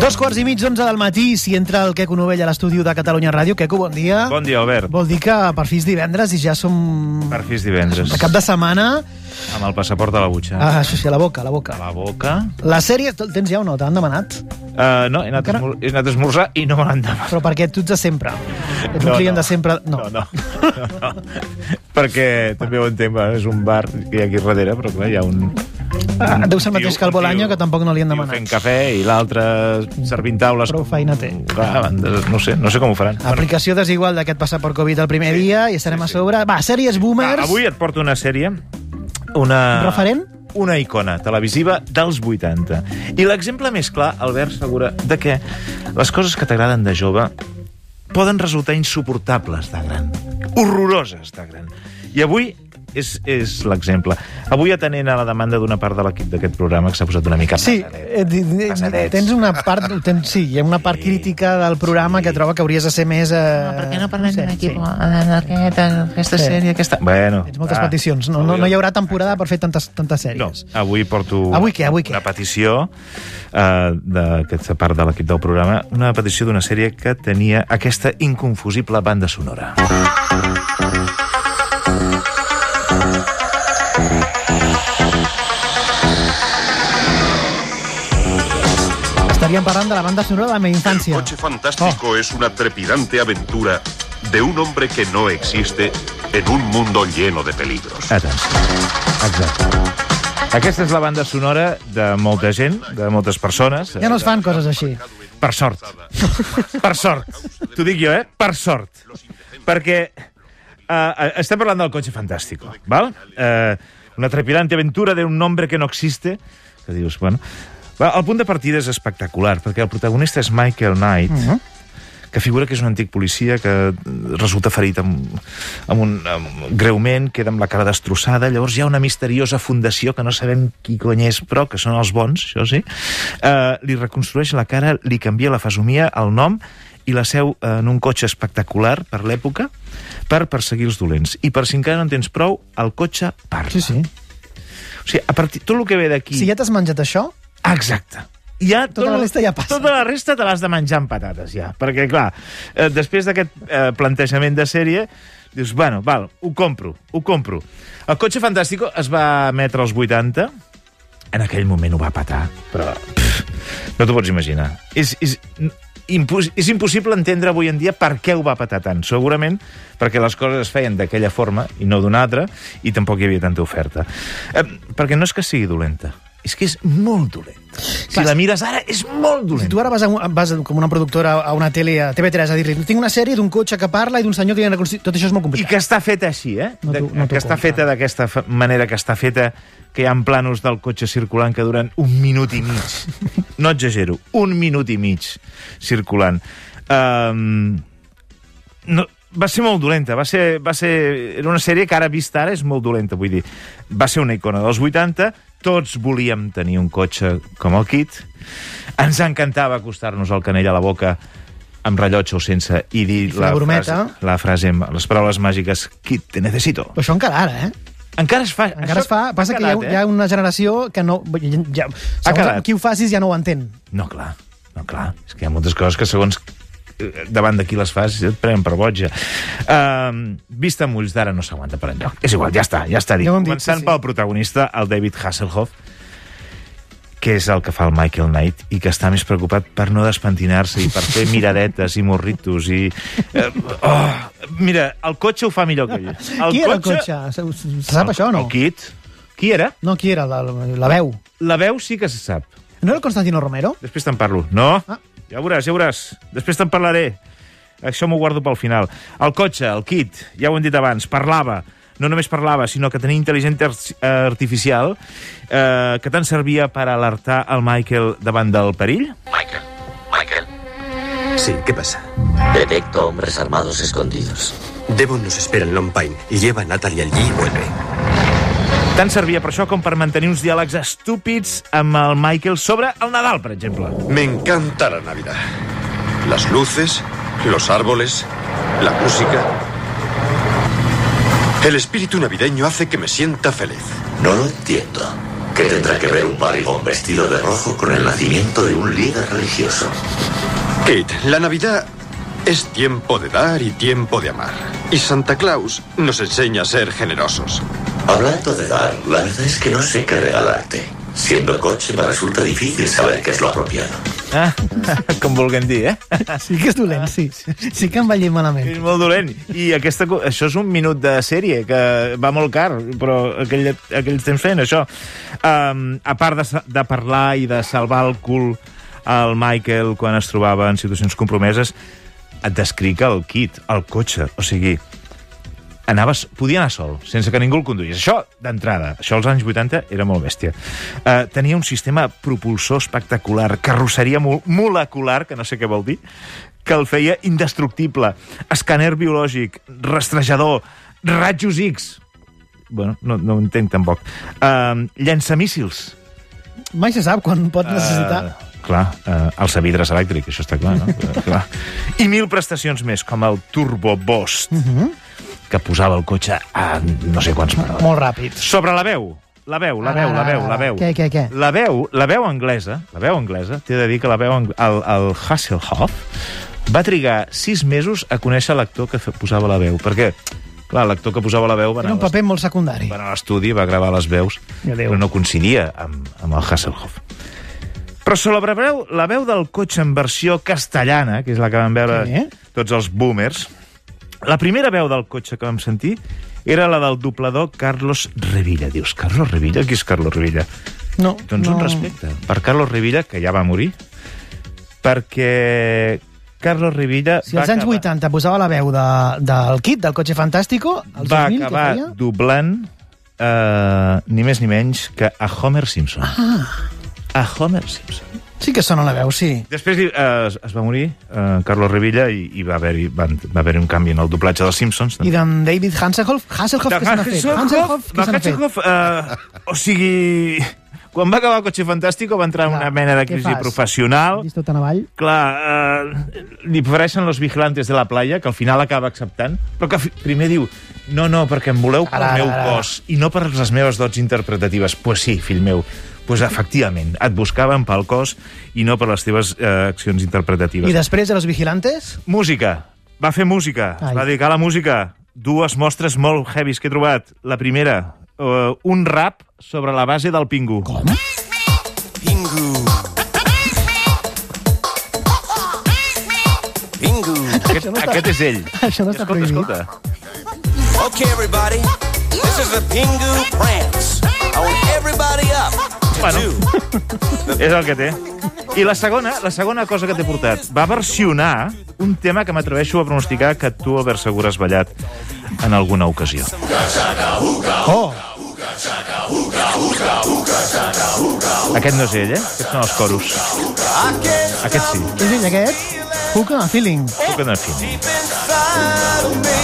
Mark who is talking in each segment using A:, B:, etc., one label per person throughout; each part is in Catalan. A: Dos quarts i mig, onze del matí, si entra el Queco Novell a l'estudi de Catalunya Ràdio. Queco, bon dia.
B: Bon dia, Albert.
A: Vol dir que per fi és divendres i ja som...
B: Per fi és divendres.
A: De cap de setmana...
B: Amb el passaport a la butxa.
A: Ah, això sí, a la boca, a la boca.
B: A la boca.
A: La sèrie, tu el tens ja o no? Te l'han demanat?
B: Uh, no, he anat,
A: Encara?
B: a esmor- he anat a esmorzar i no me l'han demanat.
A: Però perquè tu ets de sempre. Ets un
B: No,
A: client
B: no.
A: de sempre... No.
B: No, no. no, no. Perquè també ho entenc, bueno, és un bar que hi ha aquí darrere, però clar, hi ha un...
A: Ah, deu ser el
B: tio-
A: mateix que el
B: un tio-
A: Bolaño, que tampoc no li han
B: un tio
A: demanat.
B: Fent cafè i l'altre servint taules.
A: Prou feina té.
B: Clar, no sé, no sé com ho faran.
A: Aplicació desigual d'aquest passaport Covid el primer dia i estarem a sobre. Va, sèries boomers...
B: Va, Ah, avui et porto una sèrie, una...
A: Referent?
B: Una icona televisiva dels 80. I l'exemple més clar, Albert Segura, de que les coses que t'agraden de jove poden resultar insuportables de gran, horroroses de gran. I avui és, és l'exemple. Avui atenent a la demanda d'una part de l'equip d'aquest programa que s'ha posat una mica
A: Sí,
B: passadet.
A: eh, di- di-
B: Passadets.
A: tens una part, ho tens, sí, hi ha una part crítica del programa que troba que hauries de ser més... Eh,
C: No, per què no parlem
A: sé,
C: d'un equip?
A: sí.
C: Aquest, aquesta
A: Sí.
C: sèrie, aquesta...
B: Bueno,
A: Tens moltes
B: va.
A: peticions. No, no,
B: Avui-
A: no hi haurà temporada per fer tantes, tantes
B: Ah, No,
A: sèries.
B: avui porto
A: Avui què, avui què?
B: una petició eh, d'aquesta part de l'equip del programa, una petició d'una sèrie que tenia aquesta inconfusible banda sonora.
A: Estaríem parlant de la banda sonora de la meva
D: El
A: infància.
D: coche fantástico es una trepidante aventura de un hombre que no existe en un mundo lleno de peligros.
B: Atenció. Exacte. Aquesta és la banda sonora de molta gent, de moltes persones. eh,
A: Ja no es fan coses així.
B: Per sort. Per sort. T'ho dic jo, eh? Per sort. Perquè uh, estem parlant del Coche Fantástico, val? Uh, una trepidante aventura d'un nombre que no existe, que dius, bueno... Va, el punt de partida és espectacular, perquè el protagonista és Michael Knight, uh -huh. que figura que és un antic policia que resulta ferit amb, amb un amb, greument, queda amb la cara destrossada, llavors hi ha una misteriosa fundació que no sabem qui cony és, però que són els bons, això sí, uh, li reconstrueix la cara, li canvia la fesomia, el nom, i la seu en un cotxe espectacular per l'època per perseguir els dolents. I per si encara no en tens prou, el cotxe parla.
A: Sí, sí.
B: O sigui, a partir, tot el que ve d'aquí...
A: Si ja t'has menjat això,
B: Exacte. Ja,
A: Tota la resta ja passa.
B: Tota la resta te l'has de menjar amb patates, ja. Perquè, clar, eh, després d'aquest eh, plantejament de sèrie, dius, bueno, val, ho compro, ho compro. El Cotxe Fantàstico es va emetre als 80, en aquell moment ho va patar, però pff, no t'ho pots imaginar. És, és, impos és impossible entendre avui en dia per què ho va patar tant. Segurament perquè les coses es feien d'aquella forma i no d'una altra, i tampoc hi havia tanta oferta. Eh, perquè no és que sigui dolenta, és que és molt dolent. Si
A: Clar,
B: la mires ara, és molt
A: si
B: dolent.
A: tu ara vas, a, un- vas com una productora a una tele a TV3 a dir-li tinc una sèrie d'un cotxe que parla i d'un senyor que li han reconstruït... Tot això és molt
B: I
A: complicat.
B: que està feta així, eh?
A: No
B: De,
A: t'ho- no t'ho eh?
B: que està
A: compro.
B: feta d'aquesta fa- manera que està feta, que hi ha planos del cotxe circulant que duren un minut i mig. No exagero, un minut i mig circulant. Um, no, va ser molt dolenta, va ser, va ser... Era una sèrie que ara vista ara és molt dolenta, vull dir. Va ser una icona dels 80, tots volíem tenir un cotxe com el Kit, ens encantava acostar-nos al canell a la boca amb rellotge o sense i dir
A: fer la brometa.
B: frase, la frase amb les paraules màgiques Kit, te necessito.
A: Però això encara ara, eh?
B: Encara es fa.
A: Encara
B: això
A: es fa. Passa que hi ha,
B: quedat, eh?
A: hi ha una generació que no... Ja, segons
B: quedat.
A: qui ho facis ja no ho entén.
B: No, clar, no, clar. És que hi ha moltes coses que segons eh, davant de qui les fas et prenen per boja. Um, vista amb ulls d'ara no s'aguanta per enlloc. És igual, ja està, ja està dit.
A: Ja ho hem dit,
B: Començant
A: sí, sí.
B: pel protagonista, el David Hasselhoff, que és el que fa el Michael Knight i que està més preocupat per no despentinar-se i per fer miradetes i morritos i... Eh, oh, mira, el cotxe ho fa millor que ell. El
A: qui era el cotxe? Se, se sap això o no?
B: El Kit. Qui era?
A: No, qui era? La, la veu.
B: La veu sí que se sap.
A: No era el Constantino Romero?
B: Després te'n parlo. No?
A: Ah.
B: Ah. Ja ho veuràs, ja ho veuràs. Després te'n parlaré. Això m'ho guardo pel final. El cotxe, el kit, ja ho hem dit abans, parlava. No només parlava, sinó que tenia intel·ligència arti- eh, artificial eh, que tant servia per alertar el Michael davant del perill,
E: Michael, Michael,
C: Sí, ¿qué pasa?
F: Detecto hombres armados escondidos.
C: Devon nos espera en Long Pine y lleva a Natalie allí y vuelve.
B: Tant servia per això com per mantenir uns diàlegs estúpids amb el Michael sobre el Nadal, per exemple.
G: Me encanta la Navidad. Las luces, los árboles, la música. El espíritu navideño hace que me sienta feliz.
F: No lo entiendo. ¿Qué tendrá que ver un barrigón vestido de rojo con el nacimiento de un líder religioso?
G: Kate, la Navidad es tiempo de dar y tiempo de amar. Y Santa Claus nos enseña a ser generosos.
F: Hablando de dar, la verdad es que no sé qué regalarte. Siendo coche me resulta difícil saber qué es lo apropiado.
B: Ah, com vulguem dir, eh?
A: Sí que és dolent, sí.
B: Ah,
A: Sí que em va llir malament.
B: És molt dolent. I aquesta, co- això és un minut de sèrie, que va molt car, però aquell, aquell temps fent això. Um, a part de, sa- de parlar i de salvar el cul al Michael quan es trobava en situacions compromeses, et descrica el kit, el cotxe. O sigui, anaves, podia anar sol, sense que ningú el conduís. Això, d'entrada, això als anys 80 era molt bèstia. Uh, tenia un sistema propulsor espectacular, carrosseria mol molecular, que no sé què vol dir, que el feia indestructible, escàner biològic, rastrejador, ratxos X... Bueno, no, no ho entenc tampoc. Uh, llançamíssils.
A: Mai se sap quan pot necessitar...
B: Eh, clar, eh, el savidres elèctric, això està clar, no? Eh, clar. I mil prestacions més, com el Turbo Boost, que posava el cotxe a no sé quants...
A: Molt ràpid.
B: Sobre la veu, la veu, la
A: Ara,
B: veu, la
A: ara,
B: veu,
A: ara.
B: la veu.
A: Què, què, què?
B: La veu, la veu anglesa, la veu anglesa, t'he de dir que la veu ang- el, el Hasselhoff va trigar sis mesos a conèixer l'actor que fe- posava la veu, perquè, clar, l'actor que posava la veu va
A: Era
B: anar
A: un
B: a les
A: paper molt secundari.
B: va anar a l'estudi, va gravar les veus,
A: I adéu.
B: però no coincidia amb, amb el Hasselhoff. Però celebrareu la veu del cotxe en versió castellana, que és la que vam veure
A: Sí.
B: tots els boomers. La primera veu del cotxe que vam sentir era la del doblador Carlos Revilla. Dius, Carlos Revilla? Qui és Carlos Revilla?
A: No,
B: Doncs
A: no.
B: un respecte per Carlos Revilla, que ja va morir, perquè Carlos Revilla
A: Si als anys 80 posava la veu de, del kit, del cotxe fantàstico, als
B: va
A: 2000,
B: acabar
A: què feia?
B: doblant eh, ni més ni menys que a Homer Simpson. Ah. A Homer Simpson.
A: Sí que sona la veu, sí.
B: Després eh, es, es va morir eh, Carlos Revilla i, i va haver-hi va, va haver un canvi en el doblatge dels Simpsons.
A: I d'en David Hasselhoff, Hasselhoff,
B: De
A: què se n'ha fet? Hasselhoff, què se n'ha fet?
B: Hasselhoff, eh, o sigui... Quan va acabar el Cotxe Fantàstico va entrar en
A: Clar,
B: una mena de
A: què
B: crisi
A: fas?
B: professional.
A: Vist tot en avall?
B: Clar, eh, li ofereixen los vigilantes de la playa, que al final acaba acceptant, però que fi- primer diu, no, no, perquè em voleu pel
A: Ara,
B: meu
A: ara, ara.
B: cos i no per les meves dots interpretatives. Pues sí, fill meu, pues efectivament, et buscaven pel cos i no per les teves eh, accions interpretatives.
A: I després de Los Vigilantes?
B: Música. Va fer música. Ai.
A: Ai.
B: Va dedicar a la música. Dues mostres molt heavies que he trobat. La primera, uh, un rap sobre la base del pingu. Com? Pingu. Pingu. Aquest, aquest és ell.
A: Això no està
B: escolta,
A: prohibit.
B: escolta.
H: Okay, everybody. This is the Pingu Prance. I want everybody up to
B: Bueno.
H: do.
B: És el que té. I la segona, la segona cosa que t'he portat, va versionar un tema que m'atreveixo a pronosticar que tu, Albert Segura, has ballat en alguna ocasió.
A: Oh,
B: Aquest no és ell, eh? Aquests són els coros.
H: I can
B: Aquest sí.
A: és ell aquest? Hookah, feeling.
B: Toquen el fin.
H: deep inside of me.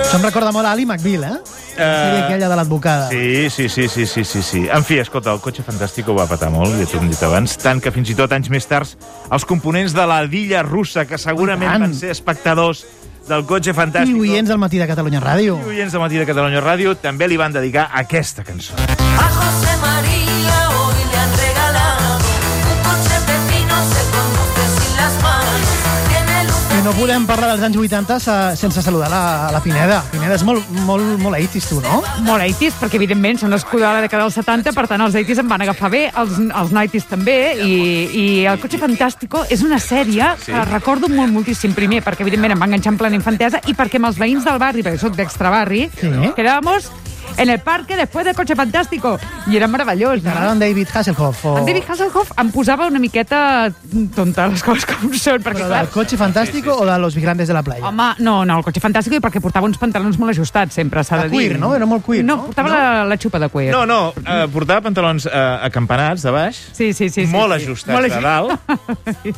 A: Això em recorda molt a Ali McBeal, eh? Uh... Sèrie aquella de l'advocada.
B: Sí, sí, sí, sí, sí, sí, sí. En fi, escolta, el cotxe fantàstic ho va patar molt, ja t'ho hem dit abans, tant que fins i tot anys més tard els components de la dilla russa, que segurament
A: I tant.
B: van ser espectadors del cotxe fantàstic,
A: I oients del matí de Catalunya Ràdio.
B: i oients de Matí de Catalunya Ràdio, també li van dedicar aquesta cançó.
I: A José María hoy le han regalado un coche pepino, se conduce sin las manos. Tiene luz
A: I no podem parlar dels anys 80 se- sense saludar la, la Pineda. Pineda, és molt, molt, molt aitis, tu, no?
J: Molt 80s, perquè evidentment són nascuda a la dècada dels 70, per tant els 80s em van agafar bé, els, els 90s també, i, i El cotxe fantàstico és una sèrie sí. que recordo molt moltíssim. Primer, perquè evidentment em va enganxar en plena infantesa, i perquè amb els veïns del barri, perquè soc d'extrabarri,
A: Sí.
J: sí. quedàvamos en el parque después del coche fantástico. I era meravellós.
A: T'agrada en David Hasselhoff? O...
J: En David Hasselhoff em posava una miqueta tonta les coses com són, perquè
A: Però
J: clar...
A: del cotxe fantàstico o de los grandes de la playa?
J: Home, no, no, el cotxe fantàstic i perquè portava uns pantalons molt ajustats sempre, s'ha de,
A: De
J: dir.
A: cuir, no? Era molt cuir,
J: no? portava La, la xupa de cuir.
B: No, no, eh, portava pantalons eh, acampanats de baix,
J: Sí, sí, sí. sí
B: molt
J: sí.
B: ajustats molt de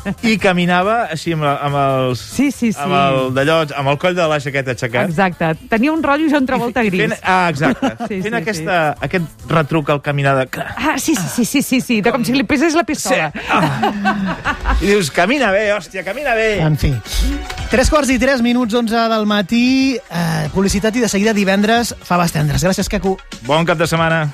B: dalt, i caminava així amb, la, amb els...
J: Sí, sí, sí.
B: Amb el, d'allò, amb el coll de la jaqueta aixecat.
J: Exacte. Tenia un rotllo John Travolta gris.
B: Fent, ah, exacte.
J: Sí,
B: Sí,
J: sí,
B: fent sí, aquesta, sí. aquest retruc al caminar de...
J: Ah, sí, sí, sí, sí, sí, sí. De com si li pesés la pistola. Sí.
B: Ah. I dius, camina bé, hòstia, camina bé.
A: En fi. Tres quarts i tres minuts, 11 del matí. Eh, publicitat i de seguida divendres fa bastendres. Gràcies, Queco.
B: Bon cap de setmana.